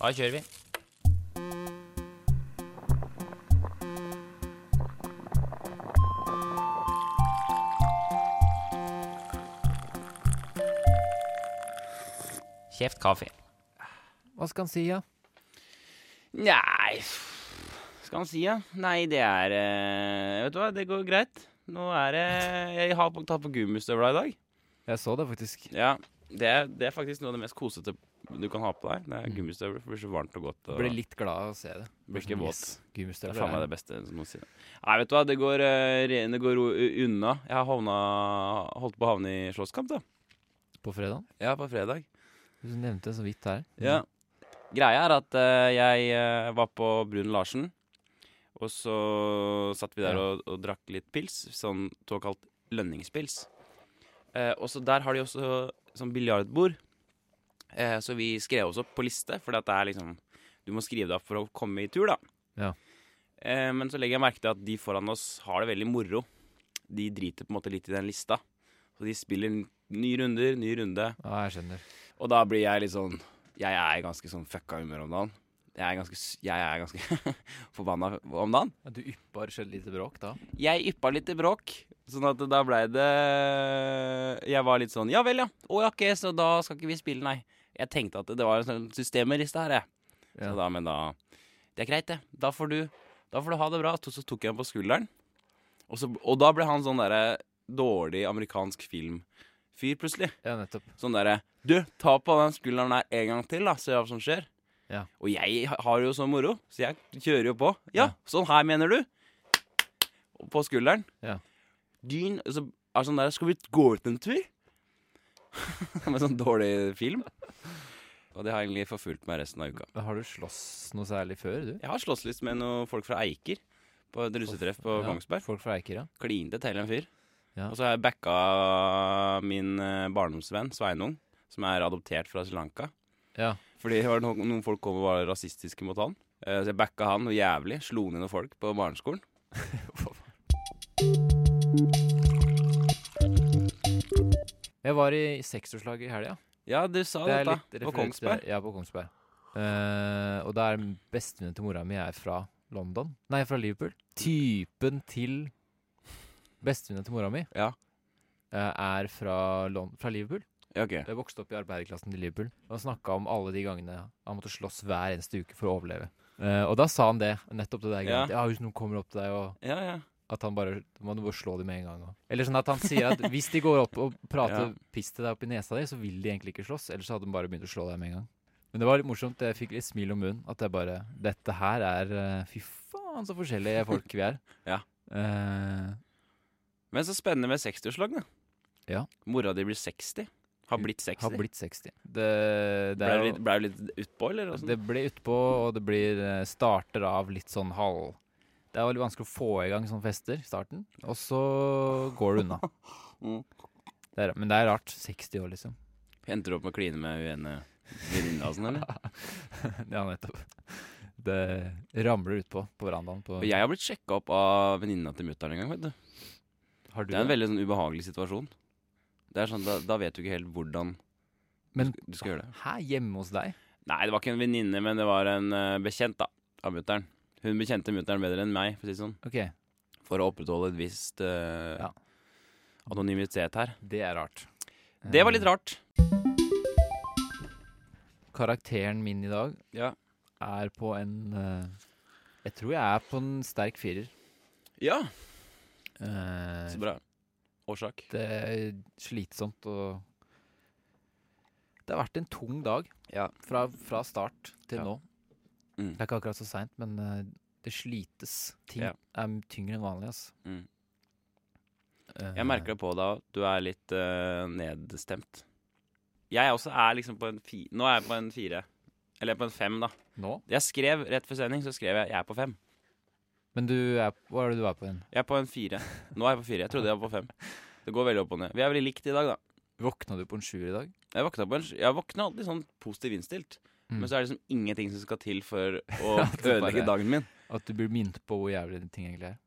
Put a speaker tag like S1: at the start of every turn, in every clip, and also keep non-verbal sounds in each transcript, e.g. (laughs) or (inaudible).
S1: Da kjører vi. Kjeft kaffe.
S2: Hva skal han si, ja?
S1: Nei Skal han si, ja? Nei, det er eh, Vet du hva, det går greit. Nå er det Jeg har på, tatt på gummistøvla i dag.
S2: Jeg så det faktisk.
S1: Ja, det er, det er faktisk noe av det mest kosete du kan ha på deg. Det er gummistøvler. for Det Mm. blir så varmt og godt. Og
S2: Ble litt glad av å se det.
S1: blir ikke våt. Det er faen meg
S2: Gummistøvler.
S1: det beste som noensinne. Nei, vet du hva, det går, eh, re- det går o- unna. Jeg har havna, holdt på å havne i slåsskamp, da.
S2: På fredag?
S1: Ja, på fredag.
S2: Du nevnte det så vidt her.
S1: Ja. Greia er at eh, jeg eh, var på Brun Larsen, og så satt vi der
S2: Ja.
S1: og, og drakk litt pils, sånn såkalt lønningspils. Eh, og så der har de også sånn biljardbord, eh, så vi skrev oss opp på liste, for det er liksom Du må skrive deg opp for å komme i tur, da.
S2: Ja.
S1: Eh, men så legger jeg merke til at de foran oss har det veldig moro. De driter på en måte litt i den lista. Så de spiller nye runder, ny runde.
S2: Ja, jeg skjønner.
S1: Og da blir jeg litt sånn Jeg er i ganske sånn fucka humør om dagen. Jeg er ganske, s- jeg er ganske (laughs) forbanna om dagen.
S2: Ja, du yppar selv lite bråk da?
S1: Jeg yppa litt i bråk, sånn at da blei det Jeg var litt sånn Ja vel, ja. Å ja, ok, så da skal ikke vi spille, nei. Jeg tenkte at det var en sånn systemeriste her, jeg.
S2: Ja.
S1: Så da, men da Det er greit, det. Da får du, da får du ha det bra. Så, så tok jeg ham på skulderen, og, så, og da ble han sånn derre dårlig amerikansk filmfyr, plutselig.
S2: Ja, nettopp.
S1: Sånn derre Du, ta på den skulderen der en gang til, da, se hva som skjer.
S2: Ja.
S1: Og jeg ha- har jo sånn moro, så jeg kjører jo på. Ja,
S2: Ja.
S1: sånn her, mener du? Og På skulderen.
S2: Ja.
S1: Dyn så er sånn der Skal vi gå ut en tur? (laughs) Med sånn dårlig film. Og det har egentlig forfulgt meg resten av uka.
S2: Men Har du slåss noe særlig før, du?
S1: Jeg har slåss litt med noen folk fra Eiker på et russetreff på Kongsberg.
S2: Folk fra Eiker, ja.
S1: klinte til en fyr.
S2: Ja.
S1: Og så har jeg backa min eh, barndomsvenn Sveinung, som er adoptert fra Sri Lanka.
S2: Ja.
S1: Fordi det var noen, noen folk kom og var rasistiske mot han. Eh, Så jeg backa han noe jævlig. Slo ned noen folk på barneskolen.
S2: Jeg var i seksårslag i helga.
S1: Ja, du sa
S2: Det er
S1: dette.
S2: litt
S1: På
S2: referert
S1: Kongsberg.
S2: til- Ja, på Kongsberg. Eh, og der bestevenninnen til mora mi er fra London. Nei, fra Liverpool. Typen til bestevenninnen til mora mi
S1: Ja.
S2: eh, er fra, Lon fra Liverpool.
S1: Ja, ok.
S2: Jeg vokste opp i arbeiderklassen til Liverpool. Og han snakka om alle de gangene han måtte slåss hver eneste uke for å overleve. Eh, og da sa han det, nettopp det der.
S1: Ja.
S2: Ja. ja, hvis noen kommer opp til deg og
S1: Ja, ja.
S2: at han bare må du bare slå dem med en gang. Og. Eller sånn at han sier at hvis de går opp og prater
S1: Ja.
S2: piss til deg oppi nesa di, så vil de egentlig ikke slåss. Ellers hadde de bare begynt å slå deg med en gang. Men det var litt morsomt. Jeg fikk litt smil om munnen. At jeg bare Dette her er eh, Fy faen, så forskjellige folk vi er.
S1: (laughs) Ja.
S2: Eh,
S1: Men så spennende med 60-årslag, da.
S2: Ja.
S1: Mora di blir 60. Har blitt 60.
S2: har blitt 60. Det, det
S1: ble
S2: er
S1: du
S2: jo
S1: litt, ble du litt utpå, eller?
S2: Det blir utpå, og det blir eh, starter av litt sånn halv Det er veldig vanskelig å få i gang sånne fester i starten, og så går det unna.
S1: (laughs) Mm.
S2: Det er, men det er rart. 60 år, liksom. (laughs)
S1: Endte du opp med å kline med uene venninna og sånn,
S2: (laughs)
S1: eller?
S2: Ja, nettopp. Det ramler utpå på verandaen. På,
S1: Og jeg har blitt sjekka opp av venninna til mutter'n en gang, vet du.
S2: har du
S1: Det er en veldig sånn ubehagelig situasjon. Det er sånn, da, da vet du ikke helt hvordan
S2: Men-
S1: du skal gjøre det.
S2: Hæ, hjemme hos deg?
S1: Nei, det var ikke en venninne, men det var en eh, bekjent da, av mutter'n. Hun bekjente mutter'n bedre enn meg, for å si det sånn.
S2: Ok,
S1: For å opprettholde et visst eh,
S2: Ja.
S1: anonymitet her.
S2: det er rart.
S1: Det
S2: Eh.
S1: var litt rart.
S2: Karakteren min i dag
S1: Ja.
S2: er på en eh, Jeg tror jeg er på en sterk firer.
S1: Ja,
S2: Eh,
S1: så bra. Årsak.
S2: det er eh, slitsomt og Det har vært en tung dag
S1: Ja.
S2: fra, fra start til
S1: Ja.
S2: nå.
S1: Mm.
S2: Det er ikke akkurat så seint, men eh, det slites. Ting
S1: Ja.
S2: er tyngre enn vanlig. Eh, Altså.
S1: Mm. Jeg merker det på deg at du er litt eh, nedstemt. Jeg også er liksom på en fi... Nå er jeg på en fire. Eller på en fem, da.
S2: nå.
S1: Jeg skrev rett før sending, så skrev jeg 'jeg er på fem'.
S2: Men du er, hva er det du er på igjen?
S1: Jeg er på en fire. Nå er jeg på fire. Jeg trodde jeg var på fem. Det går veldig opp og ned. Vi er veldig likt i dag, da.
S2: Våkna du på en sjuer i dag?
S1: Jeg våkna, på en, jeg våkna alltid sånn positivt innstilt.
S2: Mm.
S1: Men så er det liksom ingenting som skal til for å (laughs)
S2: Ja, det er bare-
S1: ødelegge dagen min.
S2: At du blir minnet på hvor jævlig ting egentlig er?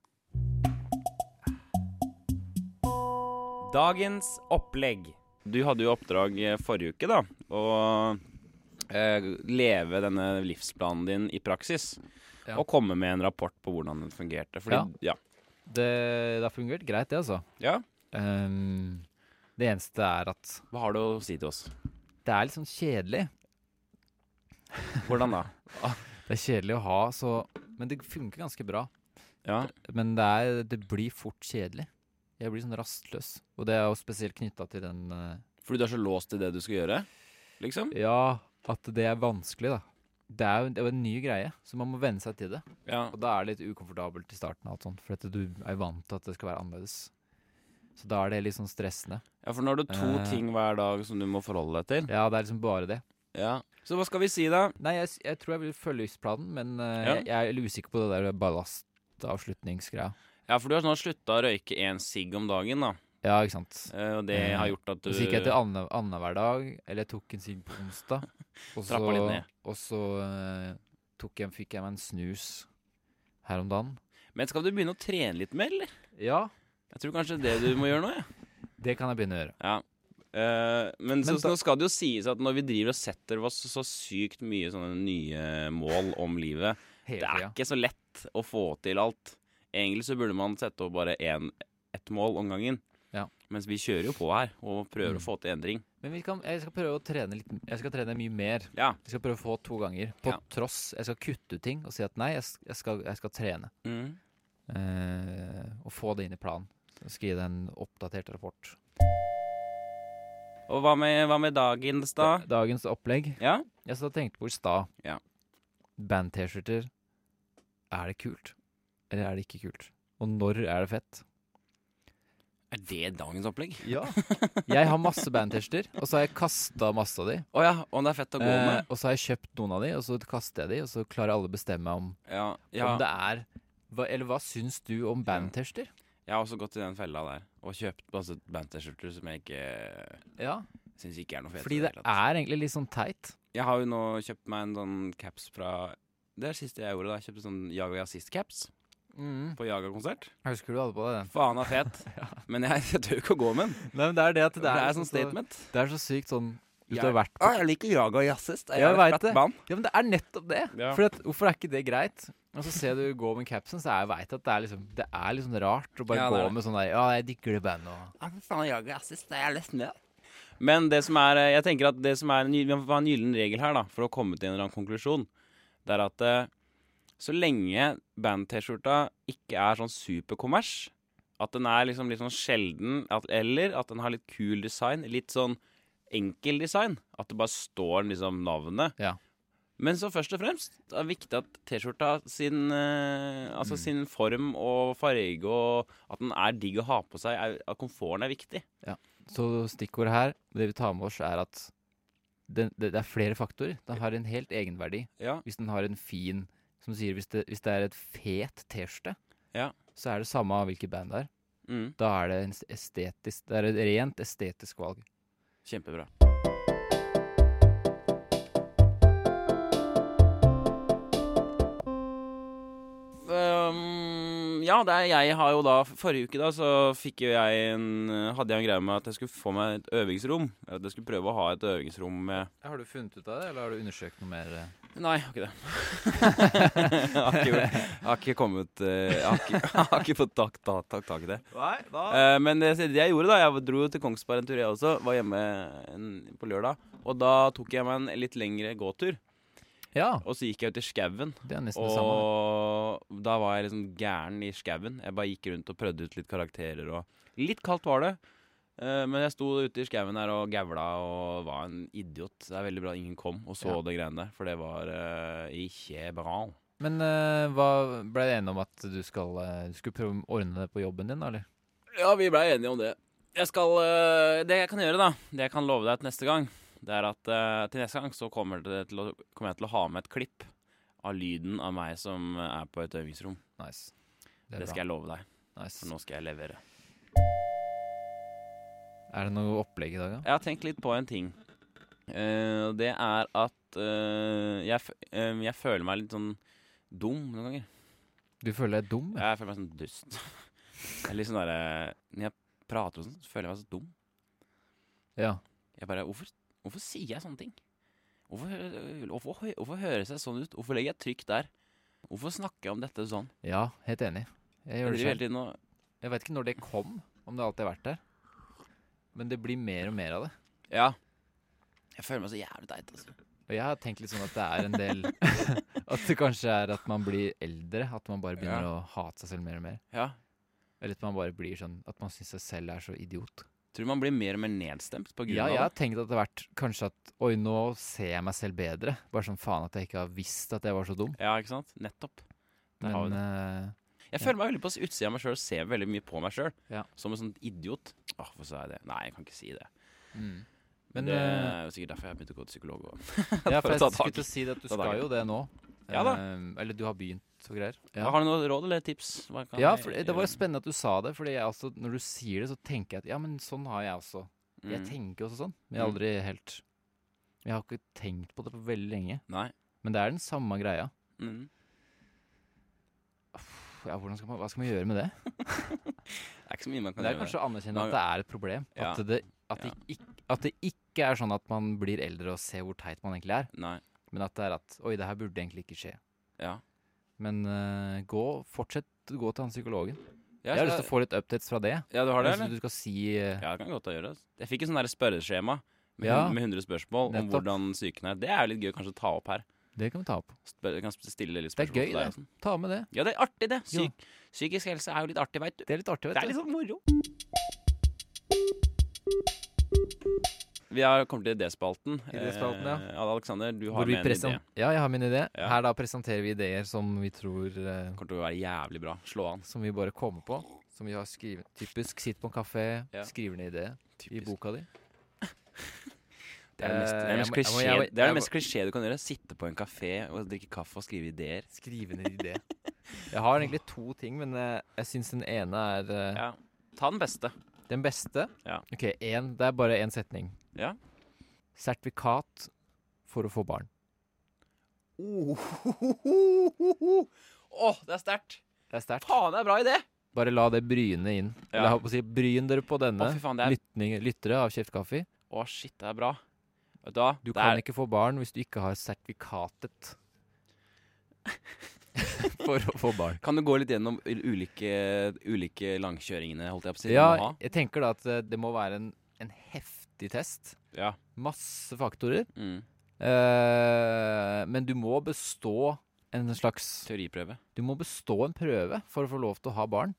S1: Dagens opplegg. Du hadde jo oppdrag eh, forrige uke, da. Å eh, leve denne livsplanen din i praksis.
S2: Ja.
S1: Og komme med en rapport på hvordan den fungerte. Fordi, ja.
S2: Det, det har fungert greit, det, altså.
S1: Ja.
S2: Ehm, det eneste er at
S1: Hva har du å si til oss?
S2: det er litt sånn kjedelig.
S1: Hvordan da?
S2: Det er kjedelig å ha, så Men det funker ganske bra.
S1: Ja.
S2: Men det, er, det blir fort kjedelig. Jeg blir sånn rastløs. Og det er jo spesielt knytta til den eh,
S1: Fordi du er så låst til det du skal gjøre? Liksom?
S2: Ja, at det er vanskelig, da. Det er jo det er jo en ny greie, så man må venne seg til det.
S1: Ja.
S2: Og da er det litt ukomfortabelt i starten, og alt sånt, for at du er jo vant til at det skal være annerledes. Så da er det litt sånn stressende.
S1: ja, for nå har du to
S2: Eh.
S1: ting hver dag som du må forholde deg til.
S2: Ja, det er liksom bare det.
S1: Ja. Så hva skal vi si, da?
S2: Nei, jeg, s- jeg tror jeg vil følge livsplanen, men eh,
S1: Ja.
S2: jeg, jeg er litt usikker på det der ballastavslutningsgreia.
S1: Ja, for du har snart slutta å røyke én sigg om dagen, da.
S2: Ja, ikke sant.
S1: Eh, Og det
S2: Eh,
S1: har gjort at du
S2: Og så gikk jeg til annen- annenhver dag, eller jeg tok en sigg på
S1: (laughs)
S2: onsdag. Og så,
S1: Trappa litt ned.
S2: og så eh, tok jeg, fikk jeg meg en snus her om dagen.
S1: Men skal du begynne å trene litt mer, eller?
S2: Ja,
S1: Jeg tror kanskje det er det du må gjøre nå, jeg.
S2: det kan jeg begynne å gjøre.
S1: Ja. Eh, men så,
S2: Men da-
S1: nå skal det jo sies at når vi driver og setter oss så sykt mye sånne nye mål om livet Det
S2: Hele
S1: er
S2: tida.
S1: ikke så lett å få til alt. Egentlig så burde man sette opp bare én ett mål om gangen.
S2: Ja.
S1: Mens vi kjører jo på her og prøver
S2: Mm.
S1: å få til endring.
S2: Men vi kan, jeg skal prøve å trene litt Jeg skal trene mye mer.
S1: Ja.
S2: Jeg skal prøve å få to ganger. På
S1: Ja.
S2: tross. Jeg skal kutte ut ting og si at nei, jeg, s- jeg, skal, jeg skal trene.
S1: Mm.
S2: Eh, og få det inn i planen. Så skal jeg gi deg en oppdatert rapport.
S1: Og hva med, hva med dagens, da?
S2: Da- Dagens opplegg.
S1: Ja?
S2: Jeg satt og tenkte på i stad.
S1: Ja.
S2: Band-T-skjorter. Er det kult? Eller er det ikke kult? Og når er det fett?
S1: Er det dagens opplegg?
S2: Ja. (laughs) jeg har masse band-T-skjorter, og så har jeg kasta masse av de.
S1: Å ja. Om det er fett å gå
S2: Eh,
S1: med?
S2: og så har jeg kjøpt noen av de, og så kaster jeg de, og så klarer alle å bestemme om,
S1: Ja. ja.
S2: om det er hva, Eller hva syns du om band-T-skjorter?
S1: Jeg har også gått i den fella der og kjøpt masse band-T-skjorter som jeg ikke
S2: Ja,
S1: syns ikke er noe fete. i
S2: fordi det
S1: hele tatt.
S2: er egentlig litt sånn teit.
S1: Jeg har jo nå kjøpt meg en sånn caps fra Det er det siste jeg gjorde. da Jeg kjøpte sånn Jaga Jazzist-caps på Jaga-konsert.
S2: Jeg Husker du hadde på deg den?
S1: Faen er fet.
S2: (laughs)
S1: Men jeg, jeg tør ikke å gå med den.
S2: Nei, men det er det at
S1: For Det er
S2: liksom
S1: sånn statement.
S2: Så, det er så sykt sånn Hvis du
S1: Jeg-
S2: har vært på
S1: Å, Ah, jeg liker Jaga Jazzist.
S2: Jeg vet det.
S1: Band.
S2: Ja, men det er nettopp det!
S1: Ja.
S2: For at, hvorfor er ikke det greit? Og så ser du gå med capsen, så jeg veit at det er liksom Det er liksom rart å bare
S1: Ja, det er
S2: gå
S1: det.
S2: med sånn der Ja, jeg digger det bandet og
S1: Ja, for Ah, faen, Jaga Jazzist, det er nesten det. Men det som er, eh, jeg tenker at det som er en, gy- vi må ha en gyllen regel her, da, for å komme til en eller annen konklusjon, det er at eh, så lenge band-T-skjorta ikke er sånn superkommers, at den er liksom litt sånn sjelden, at, eller at den har litt kul design, litt sånn enkel design, at det bare står liksom navnet.
S2: Ja.
S1: Men så først og fremst, det er viktig at T-skjorta sin, eh, altså sin form og farge og at den er digg å ha på seg, er, at komforten er viktig.
S2: Så stikkordet her, det vi tar med oss, er at den, det, det er flere faktorer. Den har en helt egenverdi.
S1: Ja.
S2: Hvis den har en fin Som du sier, hvis det, hvis det er et fet T-skjorte,
S1: Ja.
S2: så er det samme av hvilket band det er.
S1: Mm,
S2: Da er det en s- estetisk Det er et rent estetisk valg.
S1: kjempebra. Ehm, ja, det er, jeg har jo da Forrige uke da så fikk jo jeg en, hadde jeg en greie med at jeg skulle få meg et øvingsrom. Eller at jeg skulle prøve å ha et øvingsrom med
S2: Har du funnet ut av det, eller har du undersøkt noe mer?
S1: Nei, jeg har ikke det. (laughs) jeg, har ikke, gjort- jeg har ikke kommet eh, Jeg har ikke, (laughs) jeg har ikke fått tak, tak, tak, tak i det.
S2: Nei, da
S1: Eh, men det, det jeg gjorde, da Jeg dro jo til Kongsberg en tur, jeg også. Var hjemme en, på lørdag. Og da tok jeg meg en litt lengre gåtur.
S2: Ja,
S1: Og så gikk jeg ut i skauen.
S2: det er nesten det samme.
S1: Og da var jeg liksom gæren i skauen. Jeg bare gikk rundt og prøvde ut litt karakterer og Litt kaldt var det. eh, Men jeg sto ute i skauen her og gævla og var en idiot. Det er veldig bra at ingen kom og så
S2: Ja.
S1: det greiene der, for det var eh, ikke bra.
S2: Men eh, hva ble det enige om at du skal eh, Du skulle prøve å ordne det på jobben din, da, eller?
S1: Ja, vi blei enige om det. Jeg skal, øh, det jeg kan gjøre, da, det jeg kan love deg til neste gang, det er at øh, til neste gang så kommer, det til å, kommer jeg til å ha med et klipp av lyden av meg som er på et øvingsrom.
S2: Nice.
S1: Det,
S2: er bra.
S1: skal jeg love deg,
S2: nice.
S1: for nå skal jeg levere.
S2: Er det noe opplegg i dag, da?
S1: Jeg har tenkt litt på en ting. Eh, og det er at eh, jeg, f- eh, jeg føler meg litt sånn dum noen ganger.
S2: Du føler deg dum? ja?
S1: Jeg føler meg sånn dust. (laughs) Jeg er litt sånn derre Når jeg prater og sånn, så føler jeg meg så dum.
S2: Ja.
S1: Jeg bare, hvorfor, hvorfor sier jeg sånne ting? Hvorfor, hø- hvorfor, hø- hvorfor høres jeg sånn ut? Hvorfor legger jeg trykk der? Hvorfor snakker jeg om dette sånn?
S2: Ja, helt enig. Jeg
S1: Jeg
S2: gjør det
S1: driver hele
S2: selv.
S1: tiden og
S2: Jeg vet ikke når det kom, om det alltid har vært der. Men det blir mer og mer av det.
S1: Ja. Jeg føler meg så jævlig teit, altså.
S2: Og jeg har tenkt litt sånn at det er en del (laughs) At det kanskje er at man blir eldre. At man bare begynner å hate seg selv mer og mer.
S1: Ja.
S2: Eller at man bare blir sånn At man syns seg selv er så idiot.
S1: Tror du man blir mer og mer nedstemt på grunn
S2: Ja, jeg
S1: av
S2: har tenkt at det har vært kanskje at Oi, nå ser jeg meg selv bedre. Bare sånn faen at jeg ikke har visst at jeg var så dum.
S1: det? Ja, ikke sant? Nettopp. Der har vi
S2: Men
S1: det.
S2: eh,
S1: Jeg
S2: Ja.
S1: føler meg veldig på utsida av meg sjøl og ser veldig mye på meg sjøl.
S2: Ja.
S1: Som en sånn idiot. Åh, hvorfor sa jeg det? Nei, jeg kan ikke si det.
S2: mm. (laughs)
S1: Men
S2: Men
S1: det
S2: eh,
S1: er jo sikkert derfor jeg begynte å gå til psykolog. Og.
S2: ja,
S1: for
S2: for
S1: å
S2: jeg
S1: ta tak
S2: skulle
S1: i-
S2: til å si det at du
S1: ta tak i
S2: skal jo det nå.
S1: Ja da.
S2: Eh, eller du har begynt og greier.
S1: Har du noe råd eller tips? Hva kan
S2: Ja,
S1: jeg
S2: for
S1: gjøre?
S2: det det var jo spennende at du sa det, Fordi jeg også, når du sier det, så tenker jeg at ja, men sånn har jeg også. Jeg
S1: Mm.
S2: tenker også sånn, men jeg har
S1: Mm.
S2: aldri helt Jeg har ikke tenkt på det på veldig lenge.
S1: Nei.
S2: Men det er den samme greia.
S1: Mm.
S2: Puh, Ja, hvordan skal man, hva skal man gjøre med det?
S1: Det er ikke så mye man kan
S2: Det er
S1: gjøre.
S2: kanskje å anerkjenne
S1: Man-
S2: at det er et problem.
S1: Ja.
S2: At det, at, det ikke, at det ikke er sånn at man blir eldre og ser hvor teit man egentlig er,
S1: Nei.
S2: men at det er at Oi, det her burde egentlig ikke skje.
S1: Ja.
S2: Men eh, gå, fortsett å gå til han psykologen.
S1: Ja,
S2: jeg har
S1: så-
S2: lyst til å få litt updates fra det.
S1: ja, du har det,
S2: Jeg har lyst
S1: eller?
S2: til at Du skal si eh,
S1: Ja, det kan godt gjøre. altså. Jeg fikk et sånn der spørreskjema med,
S2: Ja.
S1: hun- med 100 spørsmål om
S2: Nettopp.
S1: hvordan psyken er. Det er jo litt gøy kanskje å ta opp her.
S2: Det kan vi ta opp.
S1: Spør, jeg kan sp- stille litt
S2: Det er
S1: spørsmål
S2: gøy,
S1: til deg.
S2: det.
S1: og sånn.
S2: Ta med det.
S1: Ja, det er artig, det.
S2: Ja.
S1: Psyk, Psykisk helse er jo litt artig, veit du.
S2: Det er litt artig,
S1: Det
S2: vet
S1: er
S2: du.
S1: litt sånn moro. Vi har kommet til idéspalten.
S2: Idéspalten, ja.
S1: Eh, Alexander, du har
S2: Hvor vi
S1: med en idé.
S2: presen- Ja, jeg har min idé.
S1: Ja.
S2: Her da presenterer vi ideer som vi tror eh,
S1: Kommer til å være jævlig bra. Slå an.
S2: Som vi bare kommer på. Som vi har skrevet. Typisk sitt på en kafé,
S1: Ja.
S2: skriv ned idé i boka (laughs) di.
S1: Det er det mest- det er
S2: Eh,
S1: det
S2: jeg
S1: mest
S2: må- jeg må- jeg
S1: klisjé-
S2: må-
S1: det er det
S2: jeg må-
S1: mest klisjé du kan gjøre. Sitte på en kafé og drikke kaffe og skrive ideer.
S2: Skrive (laughs) ned idé. Jeg har egentlig to ting, men eh, jeg syns den ene er eh,
S1: Ja. Ta den beste.
S2: den beste.
S1: Ja.
S2: Ok, en, Det er bare én setning.
S1: Ja.
S2: Sertifikat for å få barn.
S1: Åh, det er sterkt!
S2: Det er sterkt.
S1: Faen, det er bra idé!
S2: Bare la det bryne inn.
S1: Ja.
S2: Eller jeg holdt på å si, bryn dere på
S1: Å,
S2: denne.
S1: fy faen, det er
S2: Lytning, lyttere av Kjeft Kaffe.
S1: Å, shit, det er bra. Vet du hva?
S2: Du
S1: Det
S2: kan
S1: er-
S2: ikke få barn hvis du ikke
S1: (laughs)
S2: har sertifikatet for å få barn.
S1: Kan du gå litt gjennom u- ulike, ulike langkjøringene, holdt jeg på å si? du må
S2: Ja,
S1: ha?
S2: jeg tenker da at eh, det må være en, en heftig test.
S1: ja.
S2: Masse faktorer.
S1: Mm.
S2: Eh, men du må bestå en slags
S1: Teoriprøve.
S2: Du må bestå en prøve for å få lov til å ha barn.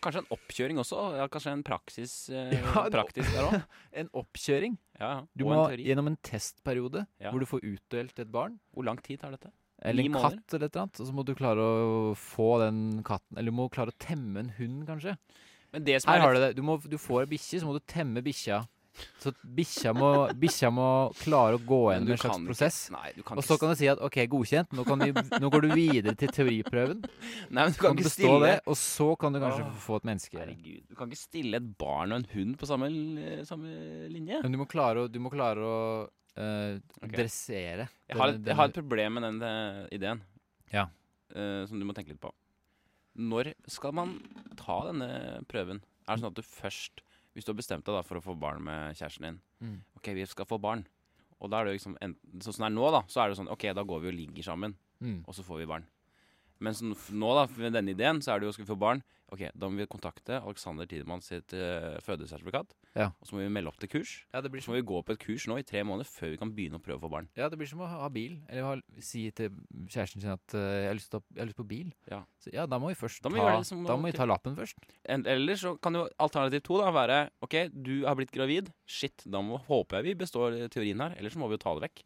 S1: Kanskje en oppkjøring også? Ja, kanskje en praksis, eh, (laughs)
S2: Ja, en
S1: praktisk der (laughs) òg?
S2: En oppkjøring.
S1: Ja, ja.
S2: Du
S1: og
S2: må
S1: en teori.
S2: gjennom en testperiode
S1: Ja.
S2: hvor du får utdelt et barn.
S1: Hvor lang tid tar dette?
S2: Eller
S1: Ni
S2: en
S1: måneder.
S2: katt eller et eller annet. Og så må du klare å få den katten Eller du må klare å temme en hund, kanskje.
S1: Men det som er
S2: Her har du det. Du, må, du får ei bikkje, så må du temme bikkja. Så bikkja må, bikkja må klare å gå
S1: Men
S2: gjennom
S1: du
S2: en slags
S1: kan ikke-
S2: prosess.
S1: Nei, du kan
S2: Og så
S1: ikke,
S2: kan du si at OK, godkjent, nå, kan vi, nå går du videre til teoriprøven.
S1: s- nei, men du kan
S2: Kan du Ah.
S1: ikke
S2: bestå
S1: stille
S2: det, og så kan du kanskje
S1: Åh,
S2: få et menneske.
S1: Herregud, du kan ikke stille et barn og en hund på samme, l- samme linje.
S2: Men du må klare å, du må klare å eh,
S1: Ok.
S2: dressere.
S1: Jeg har,
S2: denne-
S1: et, jeg har et problem med den eh, ideen.
S2: Ja.
S1: Eh, som du må tenke litt på. Når skal man ta denne prøven? Er det sånn at du først Hvis du har bestemt deg da for å få barn med kjæresten din
S2: Mm.
S1: OK, vi skal få barn. Og da er det jo liksom enten, Sånn som det er nå, da, så er det sånn OK, da går vi og ligger sammen,
S2: Mm.
S1: og så får vi barn. Men sånn f- nå, da, med denne ideen, så er det jo skal vi få barn. OK, da må vi kontakte Alexander Tidemann sitt eh, fødesertifikat.
S2: Ja.
S1: Og så må vi melde opp til kurs.
S2: Ja, det blir
S1: Så må vi gå på et kurs nå i tre måneder før vi kan begynne å prøve å få barn.
S2: Ja, det blir som å ha bil. Eller ha, si til kjæresten sin at eh, jeg, har lyst til å, 'Jeg har lyst på bil'.
S1: Ja.
S2: Så, ja, da må vi først
S1: Da må vi gjøre
S2: ta,
S1: det som-
S2: da må vi ta lappen først.
S1: En- Eller så kan jo alternativ to da være Ok, du har blitt gravid. Shit, da må, håper jeg vi består eh, teorien her. Eller så må vi jo ta det vekk.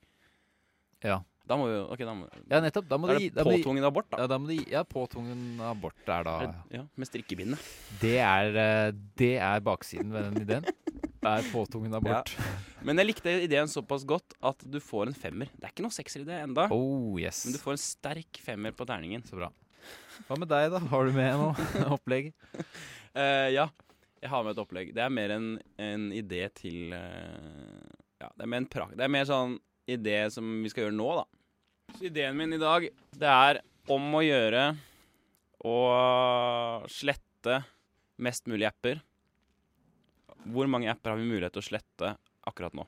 S2: Ja.
S1: Da må vi jo Ok, da må
S2: Ja, nettopp. Da må
S1: Da
S2: du
S1: er
S2: gi
S1: det
S2: da må du gi-
S1: påtvungen abort, da.
S2: Ja, da må de, ja, påtvungen abort er da
S1: Er det- Ja, med strikkebindet.
S2: Det er, eh, det er baksiden ved den ideen. Det er påtvungen abort.
S1: Men jeg likte ideen såpass godt at du får en femmer. Det er ikke noe sekseridé enda
S2: Oh, yes.
S1: men du får en sterk femmer på terningen.
S2: Så bra. Hva med deg, da? Har du med noe (laughs) opplegg?
S1: Eh, ja, jeg har med et opplegg. Det er mer en, en idé til eh, Ja, det er mer en prak... Det er mer sånn idé som vi skal gjøre nå, da. Så ideen min i dag, det er om å gjøre å slette mest mulig apper. Hvor mange apper har vi mulighet til å slette akkurat nå?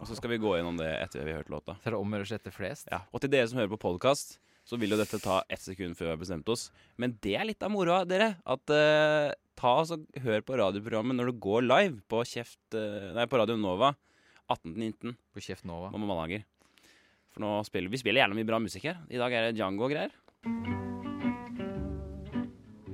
S1: Og så skal vi gå gjennom det etter vi har hørt låta.
S2: Så er det om å gjøre å slette flest.
S1: Ja. Og til dere som hører på podkast, så vil jo dette ta ett sekund før vi har bestemt oss. Men det er litt av moroa, dere. At eh, ta og hør på radioprogrammet når det går live på, kjeft, eh, nei, på Radio Nova 18-19
S2: På Kjeft Nova.
S1: på mandager. For nå spiller vi spiller gjerne mye bra musikk her. I dag er det Django og greier.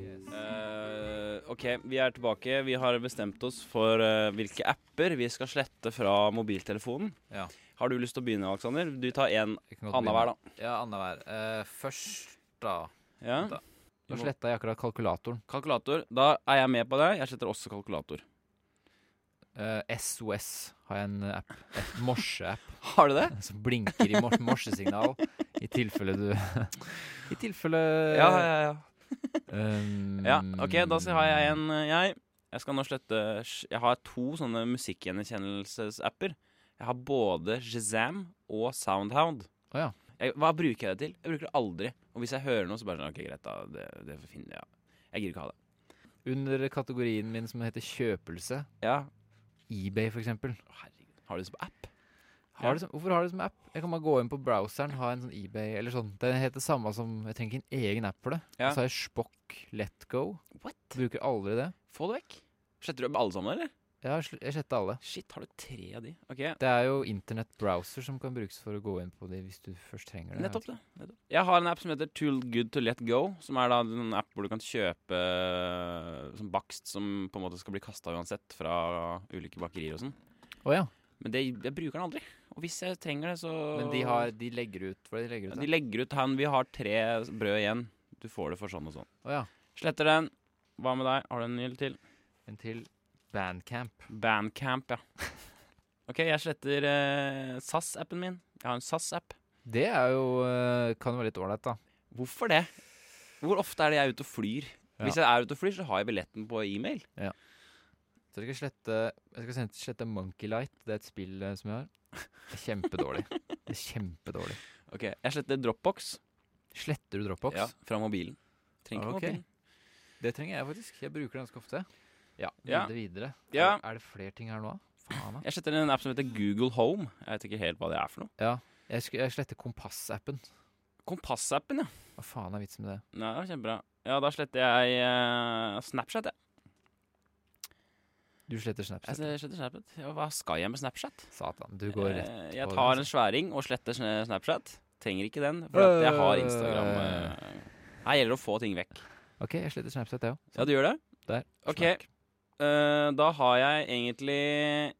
S1: Eh, ok, vi er tilbake. Vi har bestemt oss for eh, hvilke apper vi skal slette fra mobiltelefonen.
S2: Ja.
S1: Har du lyst til å begynne, Alexander? Du tar en annenhver, da.
S2: Ja, annenhver. Eh, først, da.
S1: Ja.
S2: Da- Nå sletta jeg akkurat kalkulatoren.
S1: Kalkulator. Da er jeg med på det. Jeg sletter også kalkulator.
S2: Eh, SOS har jeg en eh, app. Et morseapp (laughs)
S1: Har du det?
S2: som blinker i mors morsesignal i tilfelle du (laughs) I tilfelle
S1: ja.
S2: Ehm, Eh,
S1: Ja, OK, da så har jeg en, eh, jeg. Jeg skal nå slette sj- Jeg har to sånne musikkgjenkjennelsesapper. Jeg har både Shazam og Soundhound.
S2: Å ja.
S1: Jeg, hva bruker jeg det til? Jeg bruker det aldri. Og hvis jeg hører noe, så bare sånn OK, greit, da. Det, det får finne, ja. Jeg gidder ikke ha det.
S2: Under kategorien min som heter kjøpelse,
S1: Ja.
S2: eBay for eksempel
S1: Å, herregud. Har du det som app?
S2: Har det som, hvorfor har du det som app? Jeg kan bare gå inn på browseren, ha en sånn eBay eller sånn. Det heter samme som Jeg trenger ikke en egen app for det.
S1: Ja.
S2: Så har jeg Spock Let Go.
S1: What?
S2: Bruker aldri det.
S1: Få det vekk. Sletter du alle sammen, eller?
S2: Jeg har sl- jeg sletta alle.
S1: Shit, har du tre av de? OK.
S2: Det er jo internettbrowser som kan brukes for å gå inn på de hvis du først trenger det.
S1: Nettopp det. Nettopp. Jeg har en app som heter Too Good To Let Go, som er da en app hvor du kan kjøpe sånn bakst som på en måte skal bli kasta uansett fra ulike bakerier og sånn.
S2: Å ja.
S1: Men det, jeg bruker den aldri. Og hvis jeg trenger det, så
S2: Men de, har, de legger ut hva er det
S1: Ja,
S2: de legger ut.
S1: de
S2: da?
S1: legger ut han, Vi har tre brød igjen. Du får det for sånn og sånn.
S2: Å ja.
S1: Sletter den. Hva med deg? Har du en ny til?
S2: En til Bandcamp.
S1: Bandcamp,
S2: (laughs)
S1: ja. OK, jeg sletter eh, SAS-appen min. Jeg har en SAS-app.
S2: Det er jo eh, Kan være litt ålreit, da.
S1: Hvorfor det? Hvor ofte er det jeg er ute og flyr?
S2: Ja.
S1: Hvis jeg er ute og flyr, så har jeg billetten på e-mail.
S2: Så jeg skal slette Jeg skal sende- slette Monkey Light. Det er et spill eh, som jeg har. Det er kjempedårlig. Det er kjempedårlig.
S1: Ok, jeg sletter Dropbox,
S2: Sletter du Dropbox?
S1: Ja, fra mobilen. Trenger ikke
S2: Ok.
S1: mobilen.
S2: Det trenger jeg faktisk. Jeg bruker det ganske ofte. Ja.
S1: Ja.
S2: Videre, videre.
S1: Ja.
S2: Er, er det flere ting her nå? Faen, da.
S1: Jeg sletter en app som heter Google Home. Jeg vet ikke helt hva det er for noe.
S2: Jeg, sk- jeg sletter Kompass-appen.
S1: Kompassappen, ja.
S2: Hva faen er vitsen med det?
S1: Nei, det var kjempebra. Ja, da sletter jeg eh, Snapchat, jeg.
S2: Du sletter Snapchat.
S1: Jeg sletter Snapchat. Ja, hva skal jeg med Snapchat?
S2: Satan, du går rett
S1: Altså, Eh,
S2: på
S1: jeg
S2: det,
S1: tar
S2: altså.
S1: en sværing og sletter sn- Snapchat. Trenger ikke den, for at jeg
S2: Øh.
S1: har Instagram. eh. Her gjelder det å få ting vekk.
S2: OK, jeg sletter Snapchat, jeg òg.
S1: Ja, du gjør det?
S2: Der.
S1: Ok.
S2: Snakk.
S1: Eh, da har jeg egentlig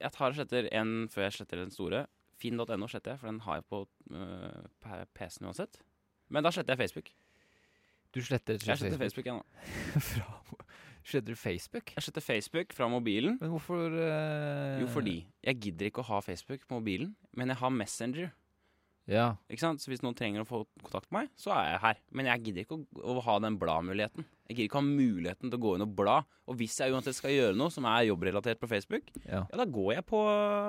S1: Jeg tar og sletter en før jeg sletter den store. Finn.no sletter jeg, for den har jeg på eh, p- PC-en uansett. Men da sletter jeg Facebook.
S2: Du sletter,
S1: Jeg sletter Facebook igjen nå.
S2: (laughs) Fra, sletter du Facebook?
S1: Jeg sletter Facebook fra mobilen.
S2: Men hvorfor eh,
S1: Jo, fordi jeg gidder ikke å ha Facebook på mobilen, men jeg har Messenger.
S2: Ja.
S1: Ikke sant? Så hvis noen trenger å få kontakt med meg, så er jeg her. Men jeg gidder ikke å, å ha den bladmuligheten. Jeg gidder ikke å ha muligheten til å gå inn og bla. Og hvis jeg uansett skal gjøre noe som er jobbrelatert på Facebook,
S2: ja.
S1: ja, da går jeg på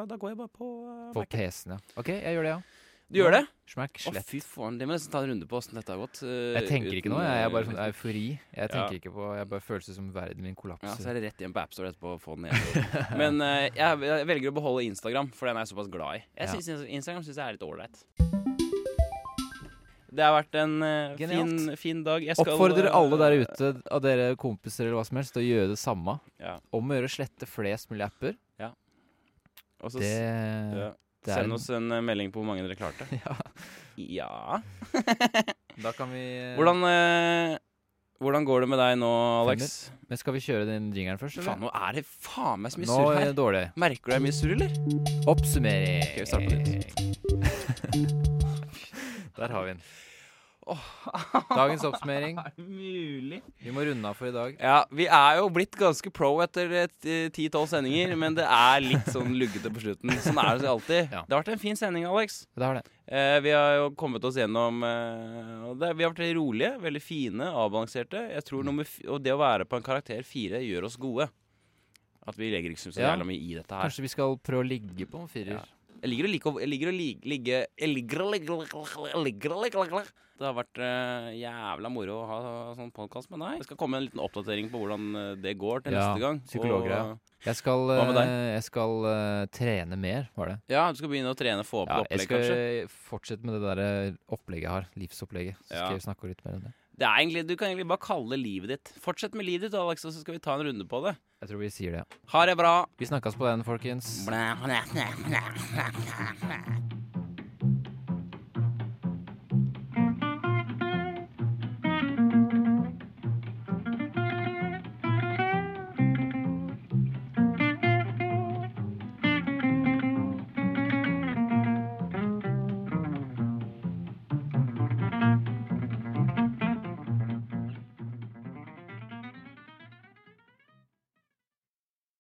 S1: Da går jeg bare på eh,
S2: På PC-en, ja. OK, jeg gjør det, ja.
S1: Du gjør det?
S2: Smack,
S1: Å,
S2: slett.
S1: fy faen. Det må jeg nesten ta en runde på åssen dette har gått. eh,
S2: Jeg tenker ikke noe. Jeg er bare sånn
S1: ja,
S2: eufori. Jeg
S1: Ja.
S2: tenker ikke på Jeg bare føles som verden min
S1: Så
S2: kollapser.
S1: er det rett hjem på AppStore etterpå og få den
S2: (laughs)
S1: igjen. Men eh, jeg, jeg velger å beholde Instagram, for den er jeg såpass glad i. Jeg
S2: Ja.
S1: synes, Instagram syns jeg er litt ålreit. Det har vært en eh, fin,
S2: Genialt.
S1: fin dag. Jeg skal,
S2: Oppfordrer
S1: eh,
S2: alle der ute, av dere kompiser eller hva som helst, til å gjøre det samme.
S1: Ja.
S2: Om å gjøre å slette flest mulig apper.
S1: og så
S2: Det,
S1: eh, s- ja.
S2: det er
S1: Send oss en eh, melding på hvor mange dere klarte.
S2: (laughs)
S1: Ja
S2: Ja. Da kan vi
S1: Hvordan, eh, hvordan går det med deg nå, Alex?
S2: Men skal vi kjøre den jingeren først,
S1: Faen,
S2: eller?
S1: nå er det faen meg så mye
S2: Nå
S1: surr
S2: er
S1: her.
S2: det dårlig.
S1: Merker du det er mye surr, eller?
S2: Oppsummering.
S1: Ok, vi starter på
S2: (laughs) Der har vi den. Dagens oppsummering.
S1: Er det mulig?
S2: Vi må runde av for i dag.
S1: Ja, vi er jo blitt ganske pro etter et, eh, 10-12 sendinger, men det er litt sånn luggete på slutten. Sånn er det så alltid.
S2: Ja.
S1: Det har vært en fin sending, Alex.
S2: Det har det.
S1: Eh, vi har jo kommet oss gjennom eh, og det, Vi har vært rolige, veldig fine, avbalanserte. Jeg
S2: Mm.
S1: tror nummer f Og det å være på en karakter fire gjør oss gode. At vi legger ikke så
S2: Ja.
S1: jævla mye i dette her.
S2: Kanskje vi skal prøve å ligge på en firer.
S1: Ja. Jeg ligger og liker å- Jeg ligger og lig- ligge Jeg ligger og ligge jeg ligger og ligge- ligge. Det har vært eh, jævla moro å ha sånn podkast med deg. Det skal komme en liten oppdatering på hvordan eh, det går til
S2: Ja,
S1: neste gang.
S2: psykologgreia.
S1: Og,
S2: Jeg skal,
S1: Hva med deg?
S2: eh, jeg skal eh, trene mer, var det.
S1: eh, Ja, du skal begynne å trene, få opp
S2: Ja,
S1: opplegg,
S2: jeg skal
S1: kanskje.
S2: fortsette med det der eh, opplegget jeg har. Livsopplegget. Så
S1: Ja.
S2: skal jeg snakke litt mer om det.
S1: Det er egentlig, du kan egentlig bare kalle det livet ditt. Fortsett med livet ditt, Alex, og så skal vi ta en runde på det.
S2: Jeg tror vi sier det.
S1: Ha det bra.
S2: Vi snakkes på den, folkens.
S1: Blæ, blæ, blæ, blæ, blæ, blæ.